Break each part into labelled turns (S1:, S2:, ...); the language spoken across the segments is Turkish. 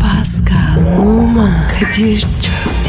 S1: Pascal, Oman, Kadir çok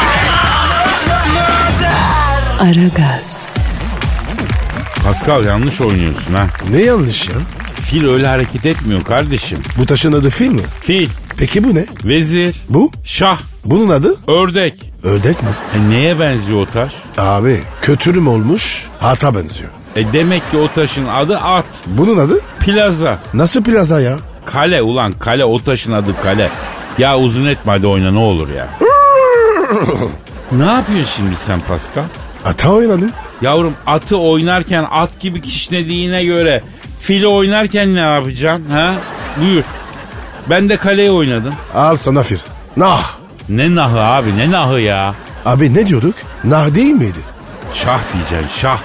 S1: Aragaz,
S2: Pascal yanlış oynuyorsun ha.
S3: Ne yanlış ya?
S2: Fil öyle hareket etmiyor kardeşim.
S3: Bu taşın adı fil mi?
S2: Fil,
S3: Peki bu ne?
S2: vezir,
S3: Bu?
S2: şah,
S3: Bunun adı?
S2: ördek.
S3: Ördek mi?
S2: E neye benziyor o taş?
S3: Abi kötürüm olmuş ata benziyor.
S2: E demek ki o taşın adı at,
S3: Bunun adı?
S2: plaza,
S3: Nasıl plaza ya?
S2: kale ulan kale o taşın adı kale. Ya uzun etme hadi oyna ne olur ya. ne yapıyorsun şimdi sen Pascal?
S3: Ata oynadım.
S2: Yavrum atı oynarken at gibi kişnediğine göre fili oynarken ne yapacaksın ha? Buyur. Ben de kaleyi oynadım.
S3: Al sana fir. Nah.
S2: Ne nahı abi ne nahı ya?
S3: Abi ne diyorduk? Nah değil miydi?
S2: Şah diyeceksin şah.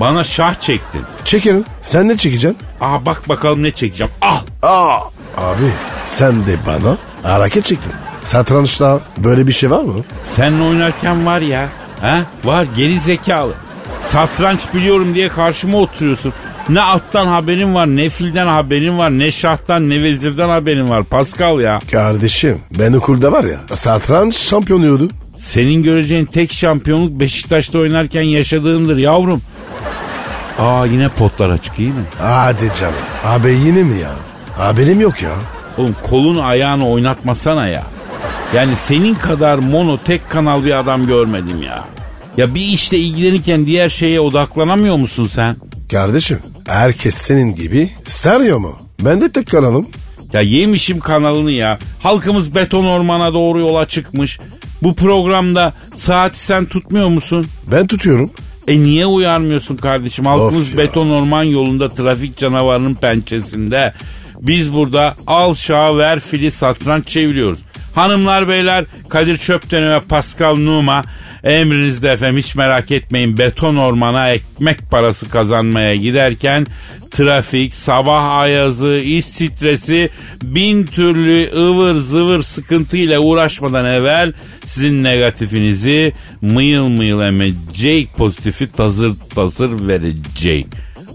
S2: Bana şah çektin.
S3: Çekerim. Sen ne çekeceksin?
S2: Aa bak bakalım ne çekeceğim. Ah
S3: Aa. Abi sen de bana hareket çektin. Satrançta böyle bir şey var mı?
S2: senle oynarken var ya. Ha? Var geri zekalı. Satranç biliyorum diye karşıma oturuyorsun. Ne attan haberin var, ne filden haberin var, ne şahtan, ne vezirden haberin var. Pascal ya.
S3: Kardeşim ben okulda var ya satranç şampiyonuyordum.
S2: Senin göreceğin tek şampiyonluk Beşiktaş'ta oynarken yaşadığımdır yavrum. Aa yine potlar açık iyi mi?
S3: Hadi canım. Abi yine mi ya? Haberim yok ya.
S2: Oğlum kolun ayağını oynatmasana ya. Yani senin kadar mono tek kanal bir adam görmedim ya. Ya bir işle ilgilenirken diğer şeye odaklanamıyor musun sen?
S3: Kardeşim herkes senin gibi stereo mu? Ben de tek kanalım.
S2: Ya yemişim kanalını ya. Halkımız beton ormana doğru yola çıkmış. Bu programda saati sen tutmuyor musun?
S3: Ben tutuyorum.
S2: E niye uyarmıyorsun kardeşim? Halkımız
S3: ya.
S2: beton orman yolunda trafik canavarının pençesinde. Biz burada al şah ver fili satranç çeviriyoruz. Hanımlar beyler Kadir Çöpten ve Pascal Numa emrinizde efendim hiç merak etmeyin beton ormana ekmek parası kazanmaya giderken trafik, sabah ayazı, iş stresi bin türlü ıvır zıvır sıkıntıyla uğraşmadan evvel sizin negatifinizi mıyıl mıyıl emecek pozitifi tazır tazır verecek.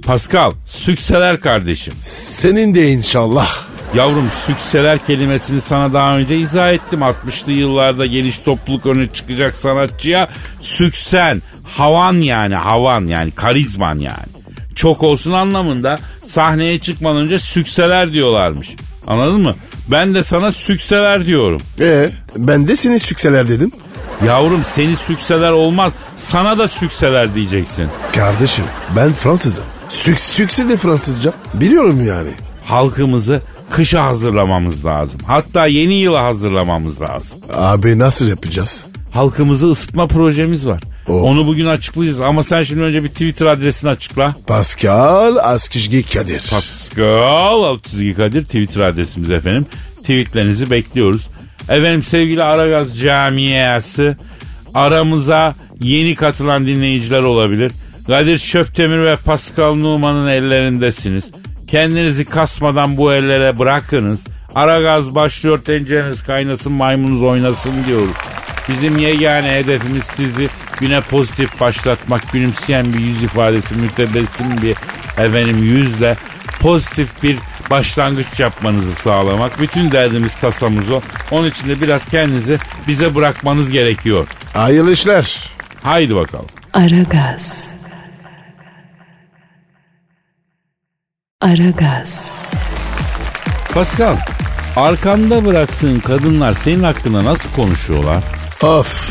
S2: Pascal, sükseler kardeşim.
S3: Senin de inşallah.
S2: Yavrum sükseler kelimesini sana daha önce izah ettim. 60'lı yıllarda geniş topluluk öne çıkacak sanatçıya süksen, havan yani havan yani karizman yani. Çok olsun anlamında sahneye çıkmadan önce sükseler diyorlarmış. Anladın mı? Ben de sana sükseler diyorum.
S3: Ee, ben de senin sükseler dedim.
S2: Yavrum seni sükseler olmaz sana da sükseler diyeceksin.
S3: Kardeşim ben Fransızım. Sük sükse de Fransızca. Biliyorum yani.
S2: Halkımızı kışa hazırlamamız lazım. Hatta yeni yıla hazırlamamız lazım.
S3: Abi nasıl yapacağız?
S2: Halkımızı ısıtma projemiz var.
S3: Oh.
S2: Onu bugün açıklayacağız ama sen şimdi önce bir Twitter adresini açıkla.
S3: Pascal Askizgi Kadir.
S2: Pascal Altçizgi Kadir Twitter adresimiz efendim. Tweetlerinizi bekliyoruz. Efendim sevgili Aragaz camiası aramıza yeni katılan dinleyiciler olabilir. Kadir Şöptemir ve Pascal Numan'ın ellerindesiniz. Kendinizi kasmadan bu ellere bırakınız. Aragaz başlıyor tencereniz kaynasın maymunuz oynasın diyoruz. Bizim yegane hedefimiz sizi güne pozitif başlatmak, gülümseyen bir yüz ifadesi, mütebessim bir efendim yüzle pozitif bir başlangıç yapmanızı sağlamak. Bütün derdimiz tasamız o. Onun için de biraz kendinizi bize bırakmanız gerekiyor.
S3: Hayırlı işler.
S2: Haydi bakalım.
S1: Aragaz. Aragaz,
S2: Pascal, arkanda bıraktığın kadınlar senin hakkında nasıl konuşuyorlar?
S3: Of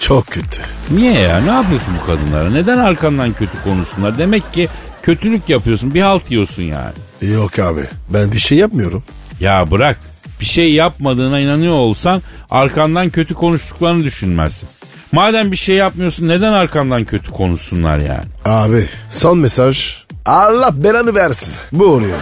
S3: çok kötü.
S2: Niye ya? Ne yapıyorsun bu kadınlara? Neden arkandan kötü konuşsunlar? Demek ki kötülük yapıyorsun, bir halt yiyorsun yani.
S3: Yok abi ben bir şey yapmıyorum.
S2: Ya bırak. Bir şey yapmadığına inanıyor olsan arkandan kötü konuştuklarını düşünmezsin. Madem bir şey yapmıyorsun neden arkandan kötü konuşsunlar yani?
S3: Abi son mesaj. Allah belanı versin. Bu oluyor.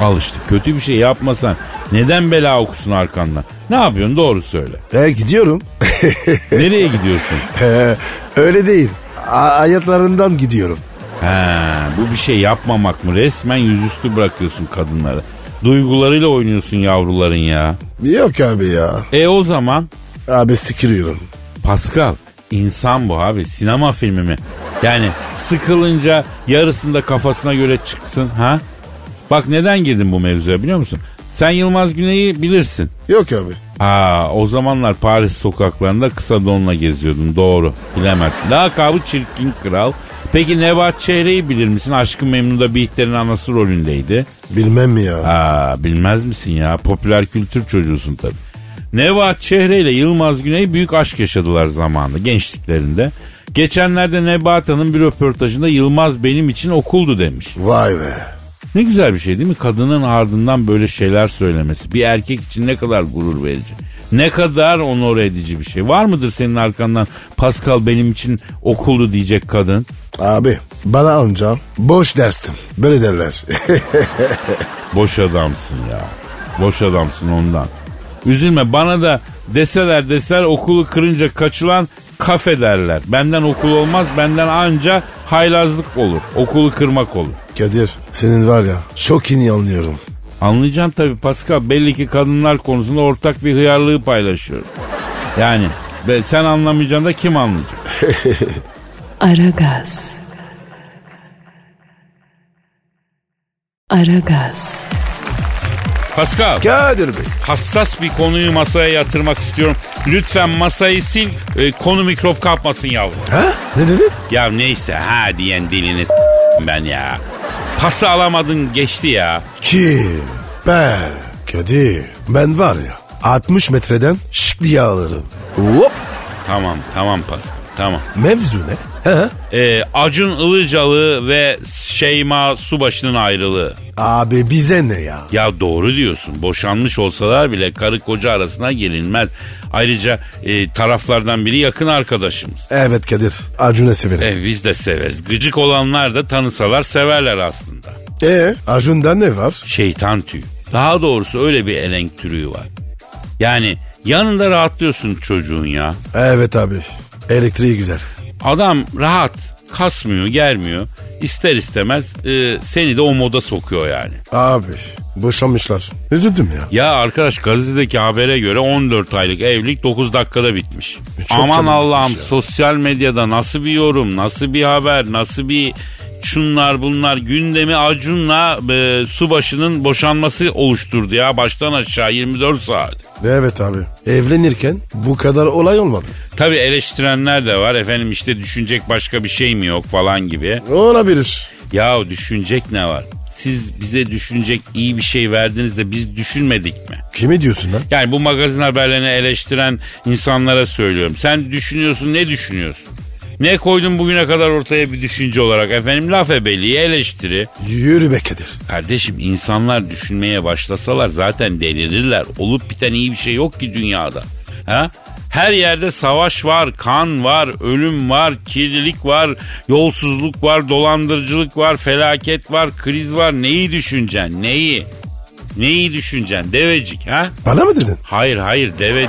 S2: Al işte kötü bir şey yapmasan Neden bela okusun arkandan? Ne yapıyorsun doğru söyle.
S3: E, gidiyorum.
S2: Nereye gidiyorsun?
S3: E, öyle değil. A- hayatlarından gidiyorum.
S2: Ha, bu bir şey yapmamak mı? Resmen yüzüstü bırakıyorsun kadınları. Duygularıyla oynuyorsun yavruların ya.
S3: Yok abi ya.
S2: E o zaman
S3: Abi sikiriyorum.
S2: Pascal insan bu abi sinema filmi mi? Yani sıkılınca yarısında kafasına göre çıksın ha? Bak neden girdin bu mevzuya biliyor musun? Sen Yılmaz Güney'i bilirsin.
S3: Yok abi.
S2: Aa o zamanlar Paris sokaklarında kısa donla geziyordun doğru bilemezsin. Lakabı Çirkin Kral. Peki Nebahat Çehre'yi bilir misin? Aşkı Memnu'da Bihter'in anası rolündeydi.
S3: Bilmem mi ya.
S2: Aa bilmez misin ya? Popüler kültür çocuğusun tabii. Nebahat Çehre ile Yılmaz Güney büyük aşk yaşadılar zamanında gençliklerinde. Geçenlerde Nebahat Hanım bir röportajında Yılmaz benim için okuldu demiş.
S3: Vay be.
S2: Ne güzel bir şey değil mi? Kadının ardından böyle şeyler söylemesi. Bir erkek için ne kadar gurur verici. Ne kadar onur edici bir şey. Var mıdır senin arkandan Pascal benim için okuldu diyecek kadın?
S3: Abi bana anca boş derstim. Böyle derler.
S2: Boş adamsın ya. Boş adamsın ondan. Üzülme bana da deseler deseler okulu kırınca kaçılan kafe derler. Benden okul olmaz benden anca haylazlık olur. Okulu kırmak olur.
S3: Kadir senin var ya çok iyi anlıyorum.
S2: Anlayacaksın tabii Pascal belli ki kadınlar konusunda ortak bir hıyarlığı paylaşıyor. Yani be- sen anlamayacaksın da kim anlayacak?
S1: Aragaz. Aragaz.
S2: Pascal
S3: Kadir Bey.
S2: hassas bir konuyu masaya yatırmak istiyorum. Lütfen masayı sil e, konu mikrop kapmasın yavrum.
S3: Ha? Ne dedi?
S2: Ya neyse ha diyen diliniz ben ya. Pası alamadın geçti ya.
S3: Kim? Ben. Kadir. Ben var ya 60 metreden şık diye alırım. Hop.
S2: Tamam tamam pas. Tamam.
S3: Mevzu ne? Ha?
S2: Ee, Acun Ilıcalı ve Şeyma Subaşı'nın ayrılığı.
S3: Abi bize ne ya?
S2: Ya doğru diyorsun. Boşanmış olsalar bile karı koca arasına gelinmez. Ayrıca e, taraflardan biri yakın arkadaşımız.
S3: Evet Kadir. Acun'u severim.
S2: E, biz de severiz. Gıcık olanlar da tanısalar severler aslında.
S3: Ee, Acun'da ne var?
S2: şeytan tüyü. Daha doğrusu öyle bir elenk türü var. Yani yanında rahatlıyorsun çocuğun ya.
S3: Evet abi. Elektriği güzel.
S2: Adam rahat, kasmıyor, germiyor. İster istemez e, seni de o moda sokuyor yani.
S3: Abi boşanmışlar. Üzüldüm ya.
S2: Ya arkadaş gazetedeki habere göre 14 aylık evlilik 9 dakikada bitmiş.
S3: E, çok
S2: Aman
S3: çabuk
S2: Allah'ım
S3: bitmiş ya.
S2: sosyal medyada nasıl bir yorum, nasıl bir haber, nasıl bir şunlar bunlar gündemi Acun'la e, Subaşı'nın boşanması oluşturdu ya baştan aşağı 24 saat.
S3: Evet abi. Evlenirken bu kadar olay olmadı.
S2: Tabi eleştirenler de var efendim işte düşünecek başka bir şey mi yok falan gibi.
S3: Olabilir.
S2: Yahu düşünecek ne var? Siz bize düşünecek iyi bir şey verdiniz de biz düşünmedik mi?
S3: Kimi diyorsun lan?
S2: Yani bu magazin haberlerini eleştiren insanlara söylüyorum. Sen düşünüyorsun ne düşünüyorsun? Ne koydun bugüne kadar ortaya bir düşünce olarak efendim laf ebeliği eleştiri.
S3: Yürü be Kadir.
S2: Kardeşim insanlar düşünmeye başlasalar zaten delirirler. Olup biten iyi bir şey yok ki dünyada. Ha? Her yerde savaş var, kan var, ölüm var, kirlilik var, yolsuzluk var, dolandırıcılık var, felaket var, kriz var. Neyi düşüneceksin? Neyi? Neyi düşüneceksin? Devecik ha?
S3: Bana mı dedin?
S2: Hayır hayır deve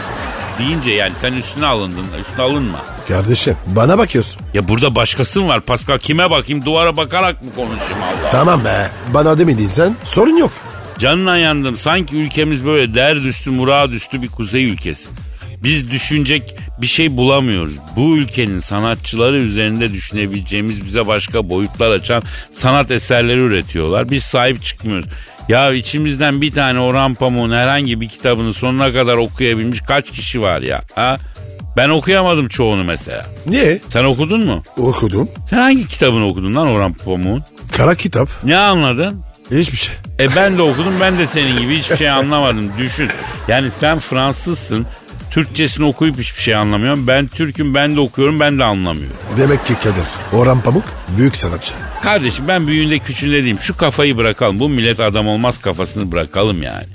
S2: deyince yani sen üstüne alındın. Üstüne alınma.
S3: Kardeşim bana bakıyorsun.
S2: Ya burada başkası mı var Pascal? Kime bakayım? Duvara bakarak mı konuşayım Allah?
S3: Tamam be. Bana demedin sen sorun yok.
S2: Canına yandım. Sanki ülkemiz böyle derd üstü, murad üstü bir kuzey ülkesi. Biz düşünecek bir şey bulamıyoruz. Bu ülkenin sanatçıları üzerinde düşünebileceğimiz bize başka boyutlar açan sanat eserleri üretiyorlar. Biz sahip çıkmıyoruz. Ya içimizden bir tane Orhan Pamuk'un herhangi bir kitabını sonuna kadar okuyabilmiş kaç kişi var ya? Ha? Ben okuyamadım çoğunu mesela.
S3: Niye?
S2: Sen okudun mu?
S3: Okudum.
S2: Sen hangi kitabını okudun lan Orhan Pamuk'un?
S3: Kara kitap.
S2: Ne anladın?
S3: Hiçbir şey.
S2: E ben de okudum ben de senin gibi hiçbir şey anlamadım düşün. Yani sen Fransızsın Türkçesini okuyup hiçbir şey anlamıyorsun. Ben Türk'üm ben de okuyorum ben de anlamıyorum.
S3: Demek ki Kadir. Orhan Pamuk büyük sanatçı.
S2: Kardeşim ben büyüğünde küçüğünde diyeyim şu kafayı bırakalım bu millet adam olmaz kafasını bırakalım yani.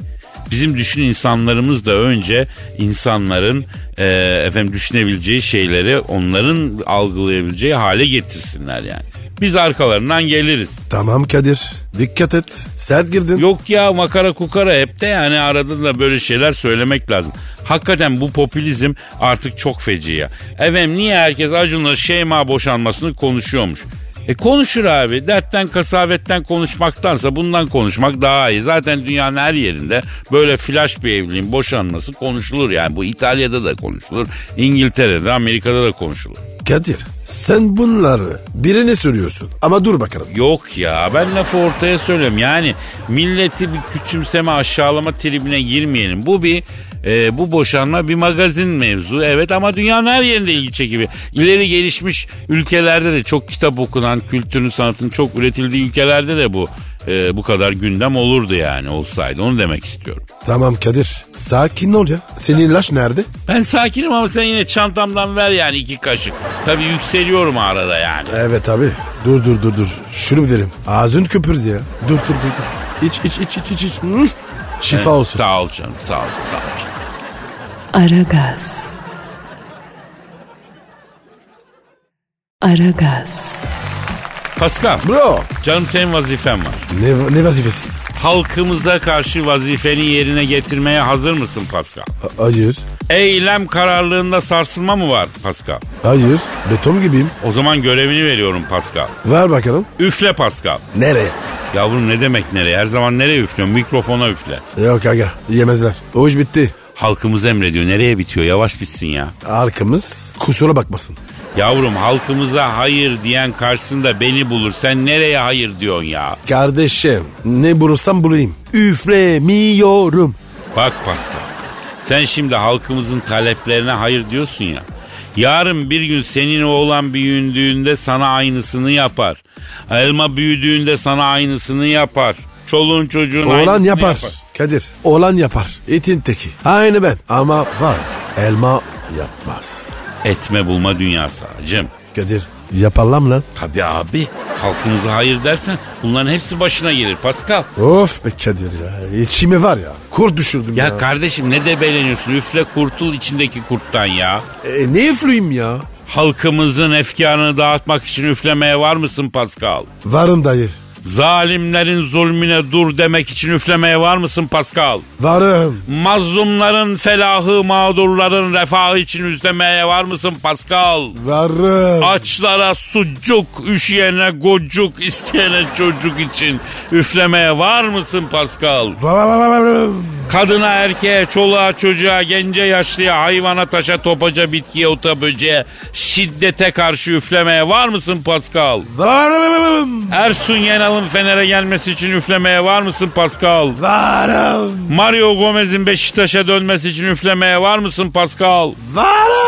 S2: Bizim düşün insanlarımız da önce insanların e, efendim düşünebileceği şeyleri onların algılayabileceği hale getirsinler yani. Biz arkalarından geliriz.
S3: Tamam Kadir. Dikkat et. Sert girdin.
S2: Yok ya makara kukara hep de yani arada da böyle şeyler söylemek lazım. Hakikaten bu popülizm artık çok feci ya. Efendim niye herkes Acun'la Şeyma boşanmasını konuşuyormuş? E konuşur abi. Dertten kasavetten konuşmaktansa bundan konuşmak daha iyi. Zaten dünyanın her yerinde böyle flash bir evliliğin boşanması konuşulur. Yani bu İtalya'da da konuşulur. İngiltere'de, Amerika'da da konuşulur.
S3: Kadir sen bunları birine söylüyorsun. Ama dur bakalım.
S2: Yok ya ben lafı ortaya söylüyorum. Yani milleti bir küçümseme aşağılama tribine girmeyelim. Bu bir e, bu boşanma bir magazin mevzu evet ama dünyanın her yerinde ilgi çekici. İleri gelişmiş ülkelerde de çok kitap okunan kültürün sanatın çok üretildiği ülkelerde de bu e, bu kadar gündem olurdu yani olsaydı onu demek istiyorum.
S3: Tamam Kadir. Sakin ol ya. Senin laş nerede?
S2: Ben sakinim ama sen yine çantamdan ver yani iki kaşık. Tabii yükseliyorum arada yani.
S3: Evet abi. Dur dur dur dur. Şunu bir vereyim. Ağzın köpürdü ya. Dur dur dur. dur. İç iç iç iç iç. iç. Hmm. Şifa olsun.
S2: Sağ ol canım sağ ol sağ ol canım.
S1: Aragaz. Aragaz.
S2: Pascal.
S3: Bro.
S2: Canım senin vazifen var.
S3: Ne, ne vazifesi?
S2: Halkımıza karşı vazifeni yerine getirmeye hazır mısın Pascal?
S3: Ha- Hayır.
S2: Eylem kararlılığında sarsılma mı var Pascal?
S3: Hayır. Beton gibiyim.
S2: O zaman görevini veriyorum Pascal.
S3: Ver bakalım.
S2: Üfle Pascal.
S3: Nereye?
S2: Yavrum ne demek nereye? Her zaman nereye üflüyorsun? Mikrofona üfle.
S3: Yok aga. Yemezler. O iş bitti.
S2: Halkımız emrediyor. Nereye bitiyor? Yavaş bitsin ya.
S3: Arkamız kusura bakmasın.
S2: Yavrum halkımıza hayır diyen karşısında beni bulur. Sen nereye hayır diyorsun ya?
S3: Kardeşim ne bulursam bulayım. Üflemiyorum.
S2: Bak Pascal. Sen şimdi halkımızın taleplerine hayır diyorsun ya. Yarın bir gün senin oğlan büyüdüğünde sana aynısını yapar. Elma büyüdüğünde sana aynısını yapar. Çoluğun çocuğun
S3: Oğlan
S2: aynısını
S3: yapar. Kadir oğlan yapar. İtin teki. Aynı ben ama var. Elma yapmaz.
S2: Etme bulma dünyası hacım.
S3: Kadir yaparlar mı lan?
S2: Tabi abi halkımıza hayır dersen bunların hepsi başına gelir Pascal.
S3: Of be Kadir ya. İçimi var ya. Kur düşürdüm ya.
S2: Ya kardeşim ne debeleniyorsun üfle kurtul içindeki kurttan ya.
S3: E, ne üfleyeyim ya?
S2: Halkımızın efkarını dağıtmak için üflemeye var mısın Pascal?
S3: Varım dayı.
S2: Zalimlerin zulmüne dur demek için üflemeye var mısın Pascal?
S3: Varım.
S2: Mazlumların felahı, mağdurların refahı için üzlemeye var mısın Pascal?
S3: Varım.
S2: Açlara sucuk, üşüyene gocuk, isteyene çocuk için üflemeye var mısın Pascal?
S3: Varım.
S2: Kadına, erkeğe, çoluğa, çocuğa, gence, yaşlıya, hayvana, taşa, topaca, bitkiye, ota, böceğe, şiddete karşı üflemeye var mısın Pascal?
S3: Varım.
S2: Ersun Yenal'ın Fener'e gelmesi için üflemeye var mısın Pascal?
S3: Varım.
S2: Mario Gomez'in Beşiktaş'a dönmesi için üflemeye var mısın Pascal?
S3: Varım.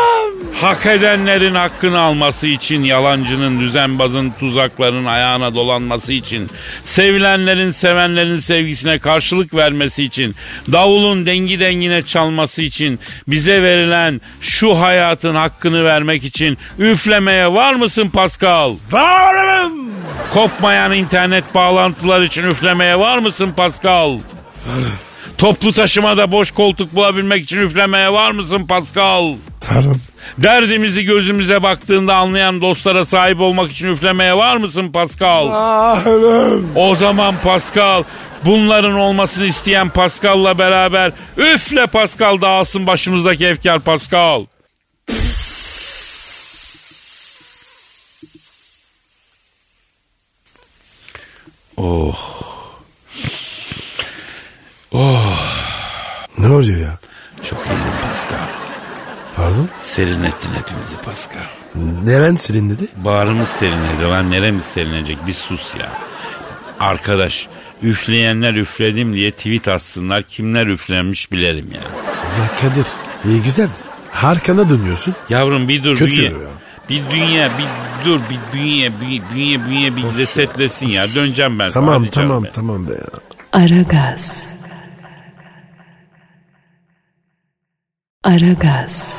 S2: Hak edenlerin hakkını alması için, yalancının, düzenbazın, tuzakların ayağına dolanması için, sevilenlerin, sevenlerin sevgisine karşılık vermesi için, davulun dengi dengine çalması için, bize verilen şu hayatın hakkını vermek için üflemeye var mısın Pascal?
S3: Varım.
S2: Kopmayan internet bağlantılar için üflemeye var mısın Pascal? Toplu taşımada boş koltuk bulabilmek için üflemeye var mısın Pascal?
S3: Varım.
S2: Derdimizi gözümüze baktığında anlayan dostlara sahip olmak için üflemeye var mısın Pascal?
S3: Varım.
S2: O zaman Pascal bunların olmasını isteyen Pascal'la beraber üfle Pascal dağılsın başımızdaki efkar Pascal. Oh.
S3: Ne oluyor ya?
S2: Çok iyiydin Pascal.
S3: Pardon?
S2: Serinlettin hepimizi Pascal.
S3: Neren silin dedi?
S2: Bağrımız serinledi lan neremiz serinlenecek bir sus ya. Arkadaş üfleyenler üfledim diye tweet atsınlar kimler üflenmiş bilerim ya.
S3: Ya Kadir iyi güzeldi. Arkana dönüyorsun.
S2: Yavrum bir dur
S3: Kötü
S2: bünye.
S3: ya.
S2: Bir dünya bir dur bir bünye bir bünye bünye bir resetlesin ya döneceğim ben sana,
S3: Tamam
S2: hadi canım
S3: tamam
S2: ben.
S3: tamam be ya.
S1: Aragaz. Aragaz.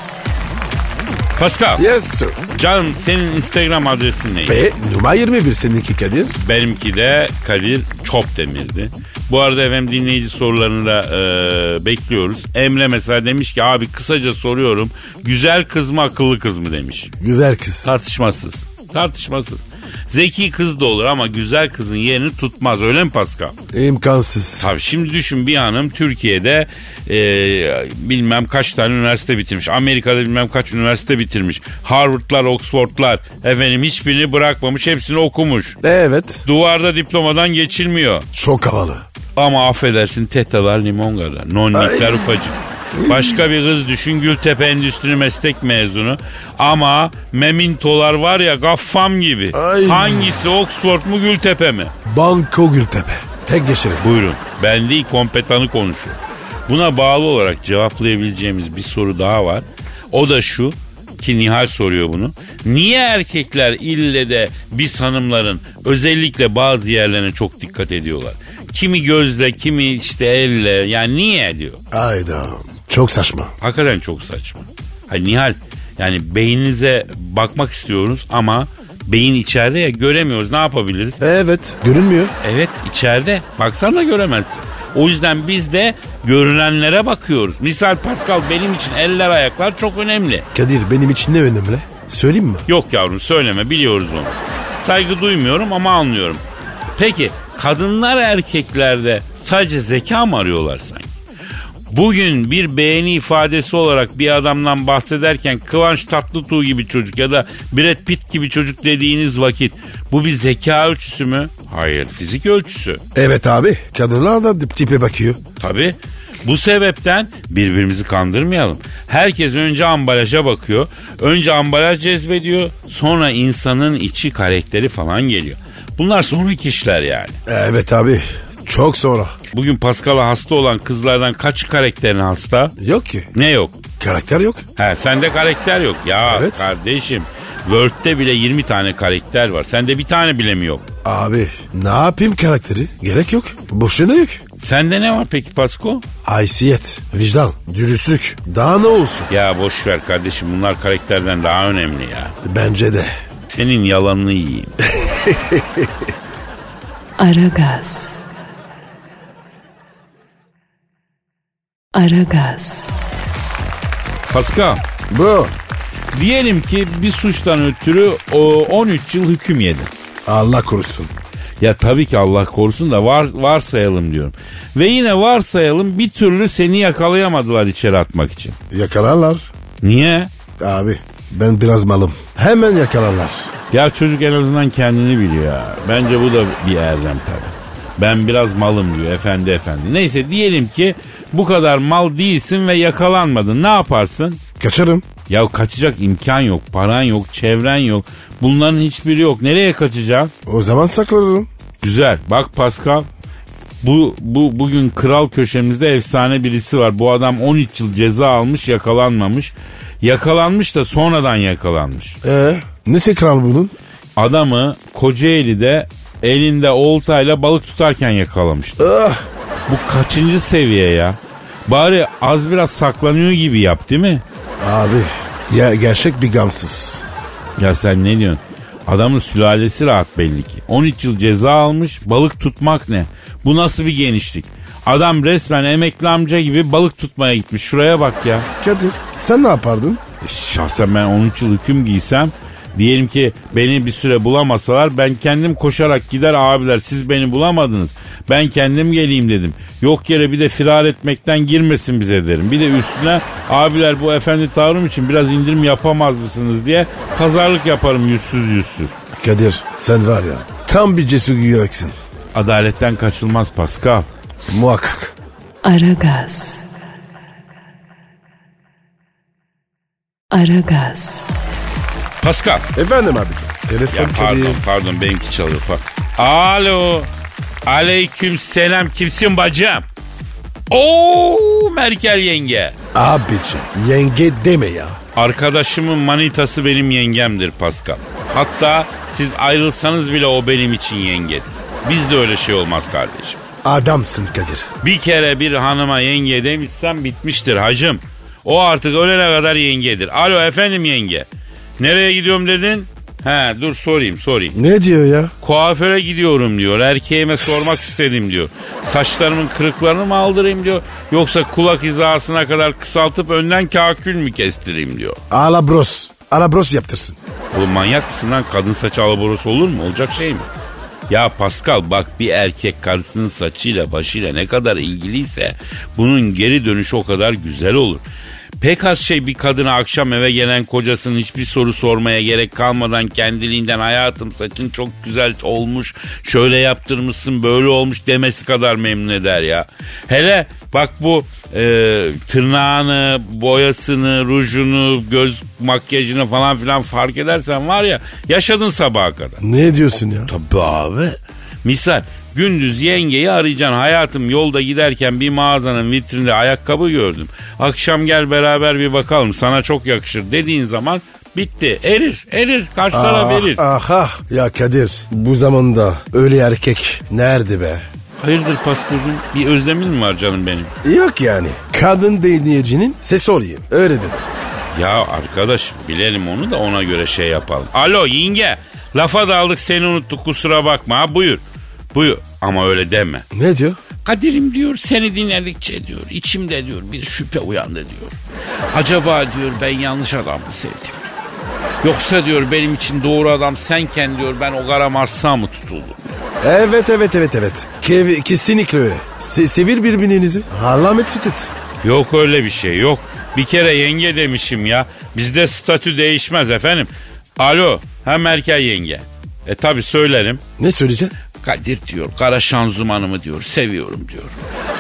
S2: Pascal
S3: Yes sir.
S2: canım senin instagram adresin ne?
S3: Ve numara 21 seninki Kadir.
S2: Benimki de Kadir Çopdemir'di. Bu arada efendim dinleyici sorularını da e, bekliyoruz. Emre mesela demiş ki abi kısaca soruyorum. Güzel kız mı akıllı kız mı demiş.
S3: Güzel kız.
S2: Tartışmasız. Tartışmasız. Zeki kız da olur ama güzel kızın yerini tutmaz öyle mi Pascal?
S3: İmkansız.
S2: Tabii şimdi düşün bir hanım Türkiye'de e, bilmem kaç tane üniversite bitirmiş. Amerika'da bilmem kaç üniversite bitirmiş. Harvard'lar, Oxford'lar efendim hiçbirini bırakmamış hepsini okumuş.
S3: Evet.
S2: Duvarda diplomadan geçilmiyor.
S3: Çok havalı.
S2: Ama affedersin tetalar limon kadar. Nonnikler ufacık. Başka bir kız düşün Gültepe Endüstri Meslek mezunu. Ama memintolar var ya gaffam gibi.
S3: Ay.
S2: Hangisi Oxford mu Gültepe mi?
S3: Banko Gültepe. Tek geçelim.
S2: Buyurun. Ben değil kompetanı konuşuyor. Buna bağlı olarak cevaplayabileceğimiz bir soru daha var. O da şu ki Nihal soruyor bunu. Niye erkekler ille de biz hanımların özellikle bazı yerlerine çok dikkat ediyorlar? Kimi gözle, kimi işte elle. Yani niye diyor.
S3: Hayda. Çok saçma.
S2: Hakikaten çok saçma. Hani Nihal yani beyninize bakmak istiyoruz ama beyin içeride ya göremiyoruz. Ne yapabiliriz?
S3: Evet. Görünmüyor.
S2: Evet içeride. Baksan da göremezsin. O yüzden biz de görünenlere bakıyoruz. Misal Pascal benim için eller ayaklar çok önemli.
S3: Kadir benim için ne önemli? Söyleyeyim mi?
S2: Yok yavrum söyleme biliyoruz onu. Saygı duymuyorum ama anlıyorum. Peki kadınlar erkeklerde sadece zeka mı arıyorlar sanki? Bugün bir beğeni ifadesi olarak bir adamdan bahsederken Kıvanç Tatlıtuğ gibi çocuk ya da Brad Pitt gibi çocuk dediğiniz vakit bu bir zeka ölçüsü mü? Hayır fizik ölçüsü.
S3: Evet abi. Kadınlar da dip- tipe bakıyor.
S2: Tabii. Bu sebepten birbirimizi kandırmayalım. Herkes önce ambalaja bakıyor. Önce ambalaj cezbediyor. Sonra insanın içi karakteri falan geliyor. Bunlar sonraki işler yani.
S3: Evet abi. Çok sonra.
S2: Bugün Pascal'a hasta olan kızlardan kaç karakterin hasta?
S3: Yok ki.
S2: Ne yok?
S3: Karakter yok.
S2: He sende karakter yok. Ya
S3: Evet.
S2: kardeşim Word'de bile 20 tane karakter var. Sende bir tane bile mi yok?
S3: Abi ne yapayım karakteri? Gerek yok. Boşuna yok.
S2: Sende ne var peki Pasko?
S3: Haysiyet, vicdan, dürüstlük. Daha ne olsun?
S2: Ya boş ver kardeşim bunlar karakterden daha önemli ya.
S3: Bence de.
S2: Senin yalanını yiyeyim.
S1: Aragaz. Aragaz.
S2: Pascal,
S3: Bu.
S2: diyelim ki bir suçtan ötürü o 13 yıl hüküm yedin.
S3: Allah korusun.
S2: Ya tabii ki Allah korusun da var, varsayalım diyorum. Ve yine varsayalım bir türlü seni yakalayamadılar içeri atmak için.
S3: Yakalarlar.
S2: Niye?
S3: Abi ben biraz malım. Hemen yakalarlar.
S2: Ya çocuk en azından kendini biliyor ya. Bence bu da bir erdem tabii. Ben biraz malım diyor efendi efendi. Neyse diyelim ki bu kadar mal değilsin ve yakalanmadın. Ne yaparsın?
S3: Kaçarım.
S2: Ya kaçacak imkan yok, paran yok, çevren yok. Bunların hiçbiri yok. Nereye kaçacaksın?
S3: O zaman saklarım.
S2: Güzel. Bak Pascal. Bu, bu bugün kral köşemizde efsane birisi var. Bu adam 13 yıl ceza almış yakalanmamış. Yakalanmış da sonradan yakalanmış.
S3: Ee, nesi kral bunun?
S2: Adamı Kocaeli'de elinde oltayla balık tutarken yakalamışlar.
S3: Ah,
S2: Bu kaçıncı seviye ya? Bari az biraz saklanıyor gibi yap değil mi?
S3: abi ya gerçek bir gamsız.
S2: Ya sen ne diyorsun? Adamın sülalesi rahat belli ki. 13 yıl ceza almış balık tutmak ne? Bu nasıl bir genişlik? Adam resmen emekli amca gibi balık tutmaya gitmiş. Şuraya bak ya.
S3: Kadir sen ne yapardın?
S2: E, şahsen ben 13 yıl hüküm giysem diyelim ki beni bir süre bulamasalar ben kendim koşarak gider abiler siz beni bulamadınız. Ben kendim geleyim dedim. Yok yere bir de firar etmekten girmesin bize derim. Bir de üstüne abiler bu efendi tavrım için biraz indirim yapamaz mısınız diye pazarlık yaparım yüzsüz yüzsüz.
S3: Kadir sen var ya tam bir cesur yüreksin.
S2: Adaletten kaçılmaz Pascal.
S3: Muhakkak.
S1: Aragaz. Aragaz.
S2: Pascal.
S3: Efendim abi. Telefon
S2: Ya pardon
S3: Kadir.
S2: pardon benimki çalıyor. Pa- Alo. Aleyküm selam kimsin bacım? Oo Merkel yenge.
S3: Abicim yenge deme ya.
S2: Arkadaşımın manitası benim yengemdir Pascal. Hatta siz ayrılsanız bile o benim için yengedir. Bizde öyle şey olmaz kardeşim.
S3: Adamsın Kadir.
S2: Bir kere bir hanıma yenge demişsem bitmiştir hacım. O artık ölene kadar yengedir. Alo efendim yenge. Nereye gidiyorum dedin? He dur sorayım sorayım.
S3: Ne diyor ya?
S2: Kuaföre gidiyorum diyor. Erkeğime sormak istedim diyor. Saçlarımın kırıklarını mı aldırayım diyor. Yoksa kulak hizasına kadar kısaltıp önden kakül mü kestireyim diyor.
S3: Alabros. Alabros yaptırsın.
S2: Oğlum manyak mısın lan? Kadın saçı alaborosu olur mu? Olacak şey mi? Ya Pascal bak bir erkek karısının saçıyla başıyla ne kadar ilgiliyse bunun geri dönüşü o kadar güzel olur. Pek az şey bir kadına akşam eve gelen kocasının hiçbir soru sormaya gerek kalmadan kendiliğinden hayatım saçın çok güzel olmuş, şöyle yaptırmışsın, böyle olmuş demesi kadar memnun eder ya. Hele bak bu e, tırnağını, boyasını, rujunu, göz makyajını falan filan fark edersen var ya yaşadın sabaha kadar.
S3: Ne diyorsun ya?
S2: Tabii abi. Misal gündüz yengeyi arayacaksın. Hayatım yolda giderken bir mağazanın vitrinde ayakkabı gördüm. Akşam gel beraber bir bakalım sana çok yakışır dediğin zaman bitti. Erir erir karşı taraf
S3: Ah,
S2: erir.
S3: ah, ah. Ya Kadir bu zamanda öyle erkek nerede be?
S2: Hayırdır pastörcüm bir özlemin mi var canım benim?
S3: Yok yani. Kadın dinleyicinin sesi olayım. Öyle dedim.
S2: Ya arkadaş bilelim onu da ona göre şey yapalım. Alo yenge lafa daldık seni unuttuk kusura bakma ha buyur. Buyur ama öyle deme.
S3: Ne diyor?
S2: Kadir'im diyor seni dinledikçe diyor içimde diyor bir şüphe uyandı diyor. Acaba diyor ben yanlış adam mı sevdim? Yoksa diyor benim için doğru adam senken diyor ben o kara Mars'a mı tutuldum?
S3: Evet evet evet evet. Kev- kesinlikle öyle. Se- sevir birbirinizi. Allah süt etsin.
S2: Yok öyle bir şey yok. Bir kere yenge demişim ya. Bizde statü değişmez efendim. Alo hem erkek yenge. E tabi söylerim.
S3: Ne söyleyeceksin?
S2: Kadir diyor kara şanzımanımı diyor seviyorum diyor.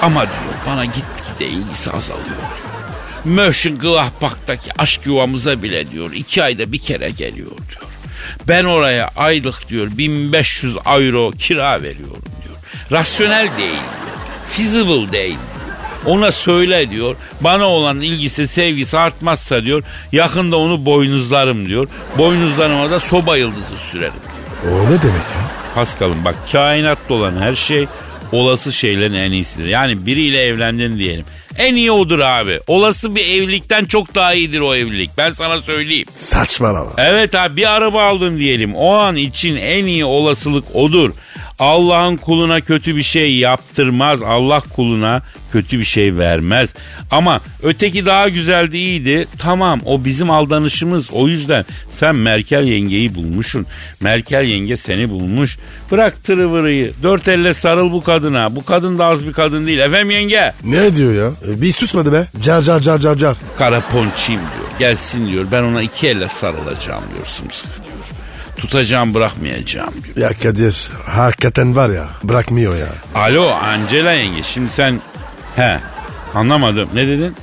S2: Ama diyor bana gitgide ilgisi azalıyor. Mörşin Gladbach'taki aşk yuvamıza bile diyor iki ayda bir kere geliyor diyor. Ben oraya aylık diyor 1500 euro kira veriyorum diyor. Rasyonel değil diyor. Feasible değil diyor. Ona söyle diyor. Bana olan ilgisi sevgisi artmazsa diyor. Yakında onu boynuzlarım diyor. Boynuzlarıma da soba yıldızı sürerim diyor.
S3: O ne demek ya?
S2: Paskal'ım bak kainatta olan her şey olası şeylerin en iyisidir. Yani biriyle evlendin diyelim. En iyi odur abi. Olası bir evlilikten çok daha iyidir o evlilik. Ben sana söyleyeyim.
S3: Saçmalama.
S2: Evet abi bir araba aldın diyelim. O an için en iyi olasılık odur. Allah'ın kuluna kötü bir şey yaptırmaz. Allah kuluna kötü bir şey vermez. Ama öteki daha güzeldi iyiydi. Tamam o bizim aldanışımız. O yüzden sen Merkel yengeyi bulmuşsun. Merkel yenge seni bulmuş. Bırak tırıvırıyı. Dört elle sarıl bu kadına. Bu kadın da az bir kadın değil. Efendim yenge.
S3: Ne diyor ya? E, Bir susmadı be. Car car car car car.
S2: Kara ponçiyim diyor. Gelsin diyor. Ben ona iki elle sarılacağım diyor sımsıkı diyor. Tutacağım bırakmayacağım diyor.
S3: Ya Kadir hakikaten var ya bırakmıyor ya.
S2: Alo Angela yenge şimdi sen... He anlamadım. Ne dedin?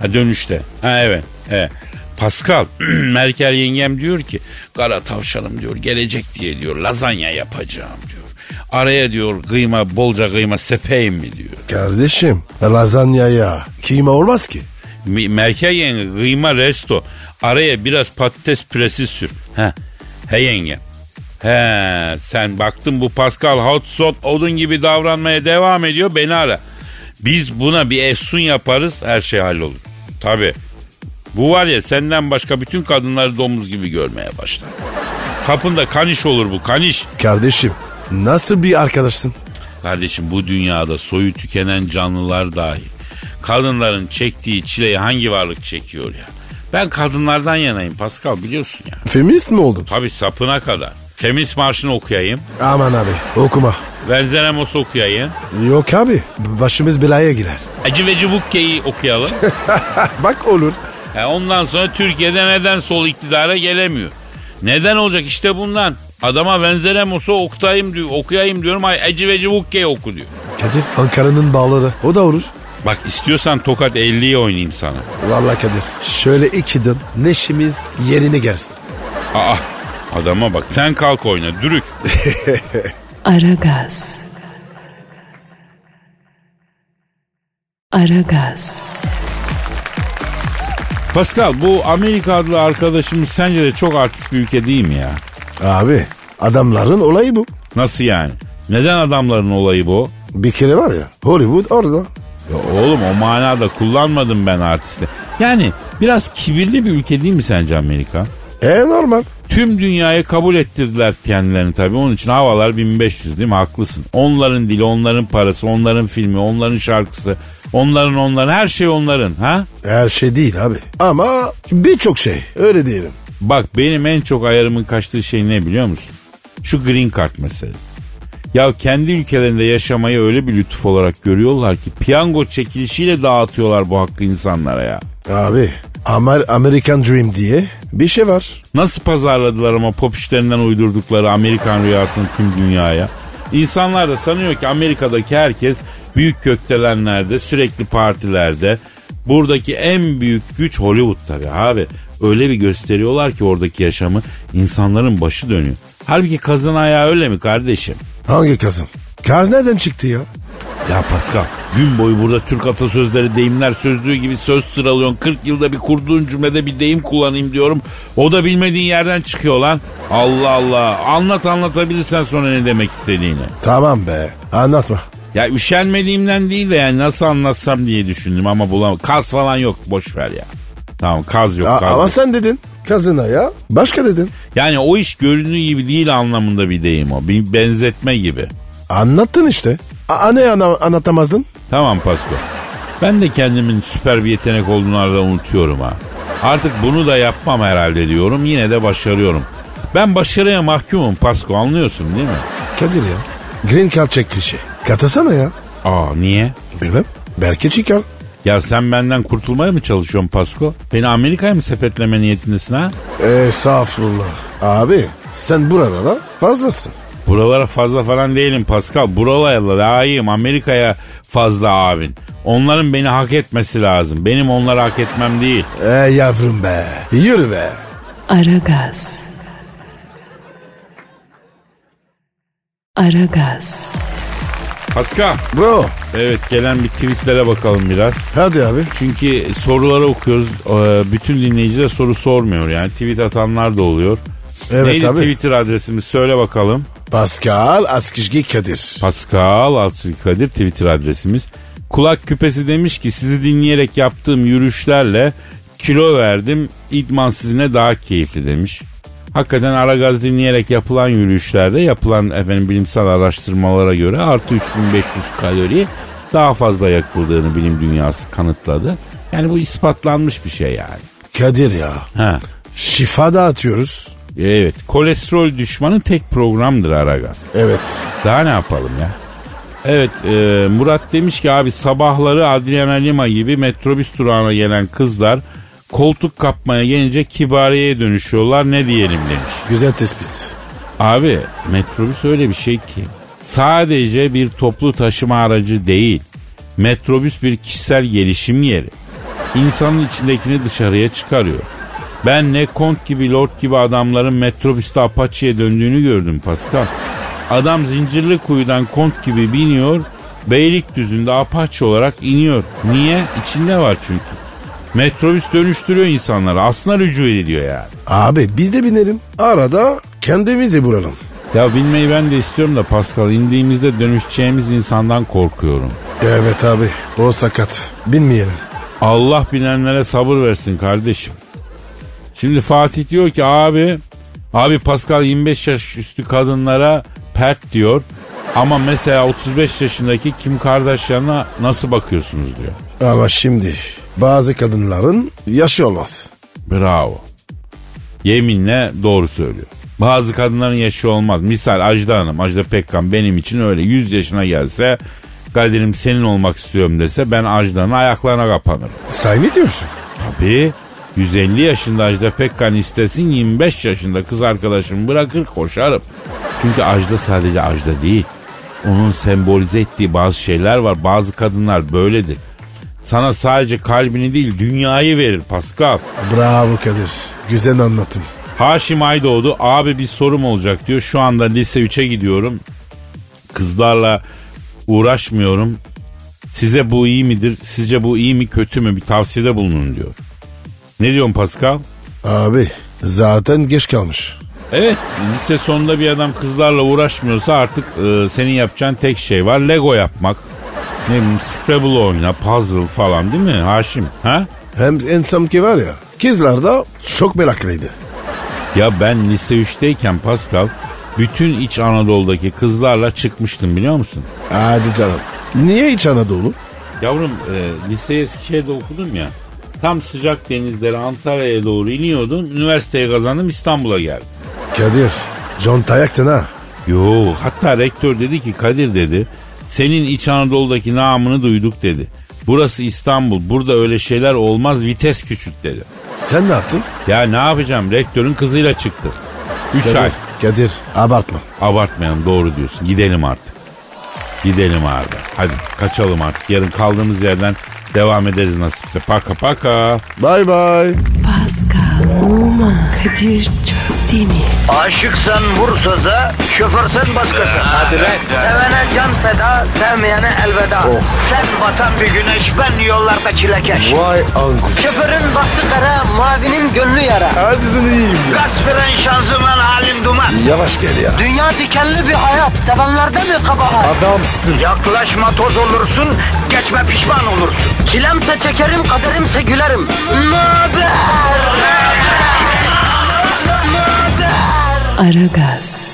S2: Ha dönüşte. Ha evet. He. Pascal Merkel yengem diyor ki kara tavşanım diyor gelecek diye diyor lazanya yapacağım diyor. Araya diyor kıyma bolca kıyma sepeyim mi diyor.
S3: Kardeşim lazanyaya kıyma olmaz ki.
S2: Mi- Merkel yenge kıyma resto. Araya biraz patates püresi sür. He. He yenge. He sen baktın bu Pascal hot shot odun gibi davranmaya devam ediyor beni ara. Biz buna bir efsun yaparız her şey hallolur. Tabi. Bu var ya senden başka bütün kadınları domuz gibi görmeye başlar. Kapında kaniş olur bu kaniş.
S3: Kardeşim nasıl bir arkadaşsın?
S2: Kardeşim bu dünyada soyu tükenen canlılar dahi. Kadınların çektiği çileyi hangi varlık çekiyor ya? Ben kadınlardan yanayım Pascal biliyorsun ya.
S3: Feminist mi oldun?
S2: Tabii sapına kadar. Feminist marşını okuyayım.
S3: Aman abi okuma.
S2: Venzenemos okuyayım.
S3: Yok abi başımız belaya girer.
S2: Acı ve Cubukke'yi okuyalım.
S3: Bak olur.
S2: Ha, ondan sonra Türkiye'de neden sol iktidara gelemiyor? Neden olacak işte bundan. Adama Venzelemos'u okutayım diyor, okuyayım diyorum. Ay Eci ve Cubukke'yi oku diyor.
S3: Kadir Ankara'nın bağları o da olur.
S2: Bak istiyorsan tokat 50'ye oynayayım sana.
S3: Vallahi Kadir şöyle iki dın neşimiz yerine gelsin.
S2: Aa adama bak sen kalk oyna dürük.
S1: Aragaz. Aragaz.
S2: Pascal bu Amerika adlı arkadaşımız sence de çok artist bir ülke değil mi ya?
S3: Abi adamların olayı bu.
S2: Nasıl yani? Neden adamların olayı bu?
S3: Bir kere var ya Hollywood orada.
S2: Ya oğlum o manada kullanmadım ben artisti. Yani biraz kibirli bir ülke değil mi sence Amerika?
S3: E normal.
S2: Tüm dünyaya kabul ettirdiler kendilerini tabii. Onun için havalar 1500 değil mi? Haklısın. Onların dili, onların parası, onların filmi, onların şarkısı, onların onların her şey onların ha?
S3: Her şey değil abi. Ama birçok şey öyle diyelim.
S2: Bak benim en çok ayarımın kaçtığı şey ne biliyor musun? Şu green card meselesi. Ya kendi ülkelerinde yaşamayı öyle bir lütuf olarak görüyorlar ki piyango çekilişiyle dağıtıyorlar bu hakkı insanlara ya.
S3: Abi Amer American Dream diye bir şey var.
S2: Nasıl pazarladılar ama pop işlerinden uydurdukları Amerikan rüyasını tüm dünyaya. İnsanlar da sanıyor ki Amerika'daki herkes büyük köktelenlerde, sürekli partilerde. Buradaki en büyük güç Hollywood tabii abi. Öyle bir gösteriyorlar ki oradaki yaşamı insanların başı dönüyor. Halbuki kazın ayağı öyle mi kardeşim?
S3: Hangi kazın? Kaz nereden çıktı ya?
S2: Ya Pascal gün boyu burada Türk atasözleri deyimler sözlüğü gibi söz sıralıyorsun. 40 yılda bir kurduğun cümlede bir deyim kullanayım diyorum. O da bilmediğin yerden çıkıyor lan. Allah Allah anlat anlatabilirsen sonra ne demek istediğini.
S3: Tamam be anlatma.
S2: Ya üşenmediğimden değil de yani nasıl anlatsam diye düşündüm ama bulamadım. Kaz falan yok boş ver ya. Tamam kaz yok
S3: A-
S2: kaz
S3: ama
S2: yok.
S3: sen dedin kazına ya. Başka dedin.
S2: Yani o iş göründüğü gibi değil anlamında bir deyim o. Bir benzetme gibi.
S3: Anlattın işte. A- ne ana- anlatamazdın?
S2: Tamam Pasko. Ben de kendimin süper bir yetenek olduğunu arada unutuyorum ha. Artık bunu da yapmam herhalde diyorum. Yine de başarıyorum. Ben başarıya mahkumum Pasko anlıyorsun değil mi?
S3: Kadir ya. Green Card çekilişi. Katılsana ya.
S2: Aa niye?
S3: Bilmem. Belki çıkar.
S2: Ya sen benden kurtulmaya mı çalışıyorsun Pasko? Beni Amerika'ya mı sepetleme niyetindesin ha?
S3: Estağfurullah. Abi sen buralara fazlasın.
S2: Buralara fazla falan değilim Pascal. Buralara layığım. Amerika'ya fazla abin. Onların beni hak etmesi lazım. Benim onları hak etmem değil.
S3: E yavrum be. Yürü be.
S1: Aragaz. Aragaz.
S2: Pascal.
S3: Bro.
S2: Evet gelen bir tweetlere bakalım biraz.
S3: Hadi abi.
S2: Çünkü soruları okuyoruz. Ee, Bütün dinleyiciler soru sormuyor yani. Tweet atanlar da oluyor.
S3: Evet
S2: Neydi
S3: abi.
S2: Twitter adresimiz? Söyle bakalım.
S3: Pascal Askizgi Kadir.
S2: Pascal Altçı Kadir Twitter adresimiz. Kulak küpesi demiş ki sizi dinleyerek yaptığım yürüyüşlerle kilo verdim. İdman sizine daha keyifli demiş. Hakikaten Aragaz dinleyerek yapılan yürüyüşlerde yapılan efendim bilimsel araştırmalara göre artı 3500 kalori daha fazla yakıldığını bilim dünyası kanıtladı. Yani bu ispatlanmış bir şey yani.
S3: Kadir ya.
S2: Ha.
S3: Şifa da atıyoruz.
S2: Evet kolesterol düşmanı tek programdır Aragaz.
S3: Evet.
S2: Daha ne yapalım ya? Evet e, Murat demiş ki abi sabahları Adriana Lima gibi metrobüs durağına gelen kızlar koltuk kapmaya gelince kibariyeye dönüşüyorlar ne diyelim demiş.
S3: Güzel tespit.
S2: Abi metrobüs öyle bir şey ki sadece bir toplu taşıma aracı değil. Metrobüs bir kişisel gelişim yeri. İnsanın içindekini dışarıya çıkarıyor. Ben ne kont gibi lord gibi adamların metrobüste apaçiye döndüğünü gördüm Pascal. Adam zincirli kuyudan kont gibi biniyor, Beylikdüzü'nde apaçi olarak iniyor. Niye? İçinde var çünkü. Metrobüs dönüştürüyor insanları. Aslına rücu ediliyor yani.
S3: Abi biz de binelim. Arada kendimizi bulalım.
S2: Ya bilmeyi ben de istiyorum da Pascal indiğimizde dönüşeceğimiz insandan korkuyorum.
S3: Evet abi. O sakat. Binmeyelim.
S2: Allah bilenlere sabır versin kardeşim. Şimdi Fatih diyor ki abi abi Pascal 25 yaş üstü kadınlara pert diyor. Ama mesela 35 yaşındaki Kim Kardashian'a nasıl bakıyorsunuz diyor.
S3: Ama şimdi bazı kadınların yaşı olmaz.
S2: Bravo. Yeminle doğru söylüyor. Bazı kadınların yaşı olmaz. Misal Ajda Hanım, Ajda Pekkan benim için öyle 100 yaşına gelse Kadir'im senin olmak istiyorum dese ben Ajda'nın ayaklarına kapanırım.
S3: Say mı diyorsun?
S2: Tabii 150 yaşında Ajda Pekkan istesin 25 yaşında kız arkadaşımı bırakır koşarım. Çünkü Ajda sadece Ajda değil. Onun sembolize ettiği bazı şeyler var. Bazı kadınlar böyledir. Sana sadece kalbini değil dünyayı verir Pascal.
S3: Bravo Kadir. Güzel anlatım.
S2: Haşim Aydoğdu abi bir sorum olacak diyor. Şu anda lise 3'e gidiyorum. Kızlarla uğraşmıyorum. Size bu iyi midir? Sizce bu iyi mi kötü mü? Bir tavsiyede bulunun diyor. Ne diyorsun Pascal?
S3: Abi zaten geç kalmış.
S2: Evet lise sonunda bir adam kızlarla uğraşmıyorsa artık e, senin yapacağın tek şey var. Lego yapmak. Ne bileyim Scrabble oyna, puzzle falan değil mi Haşim? Ha?
S3: Hem ensam ki var ya kızlar da çok meraklıydı.
S2: Ya ben lise 3'teyken Pascal bütün iç Anadolu'daki kızlarla çıkmıştım biliyor musun?
S3: Hadi canım. Niye İç Anadolu?
S2: Yavrum e, liseyi Eskişehir'de okudum ya. Tam sıcak denizlere Antalya'ya doğru iniyordum. Üniversiteyi kazandım İstanbul'a geldim.
S3: Kadir. Conta yaktın ha.
S2: Yo hatta rektör dedi ki Kadir dedi senin İç Anadolu'daki namını duyduk dedi. Burası İstanbul burada öyle şeyler olmaz vites küçült dedi.
S3: Sen ne yaptın?
S2: Ya ne yapacağım rektörün kızıyla çıktı. 3 ay
S3: Kadir. Kadir abartma.
S2: abartmayalım doğru diyorsun gidelim artık. Gidelim abi hadi kaçalım artık yarın kaldığımız yerden devam ederiz nasipse paka paka.
S3: Bay bay.
S1: Pascal, Oman, Kadir çok değil mi?
S4: Aşıksan vursa da, şoförsen başkasın. Hadi
S5: lan.
S4: Sevene can feda, sevmeyene elveda. Sen batan bir güneş, ben yollarda çilekeş.
S3: Vay anku.
S4: Şoförün baktı kara, mavinin gönlü yara.
S3: Hadi sen iyiyim ya.
S4: Kasperen şanzıman halin duman.
S3: Yavaş gel ya.
S4: Dünya dikenli bir hayat, sevenlerde mi kabahar?
S3: Adamsın.
S4: Yaklaşma toz olursun, geçme pişman olursun. Çilemse çekerim, kaderimse gülerim. Möber!
S1: Aragaz.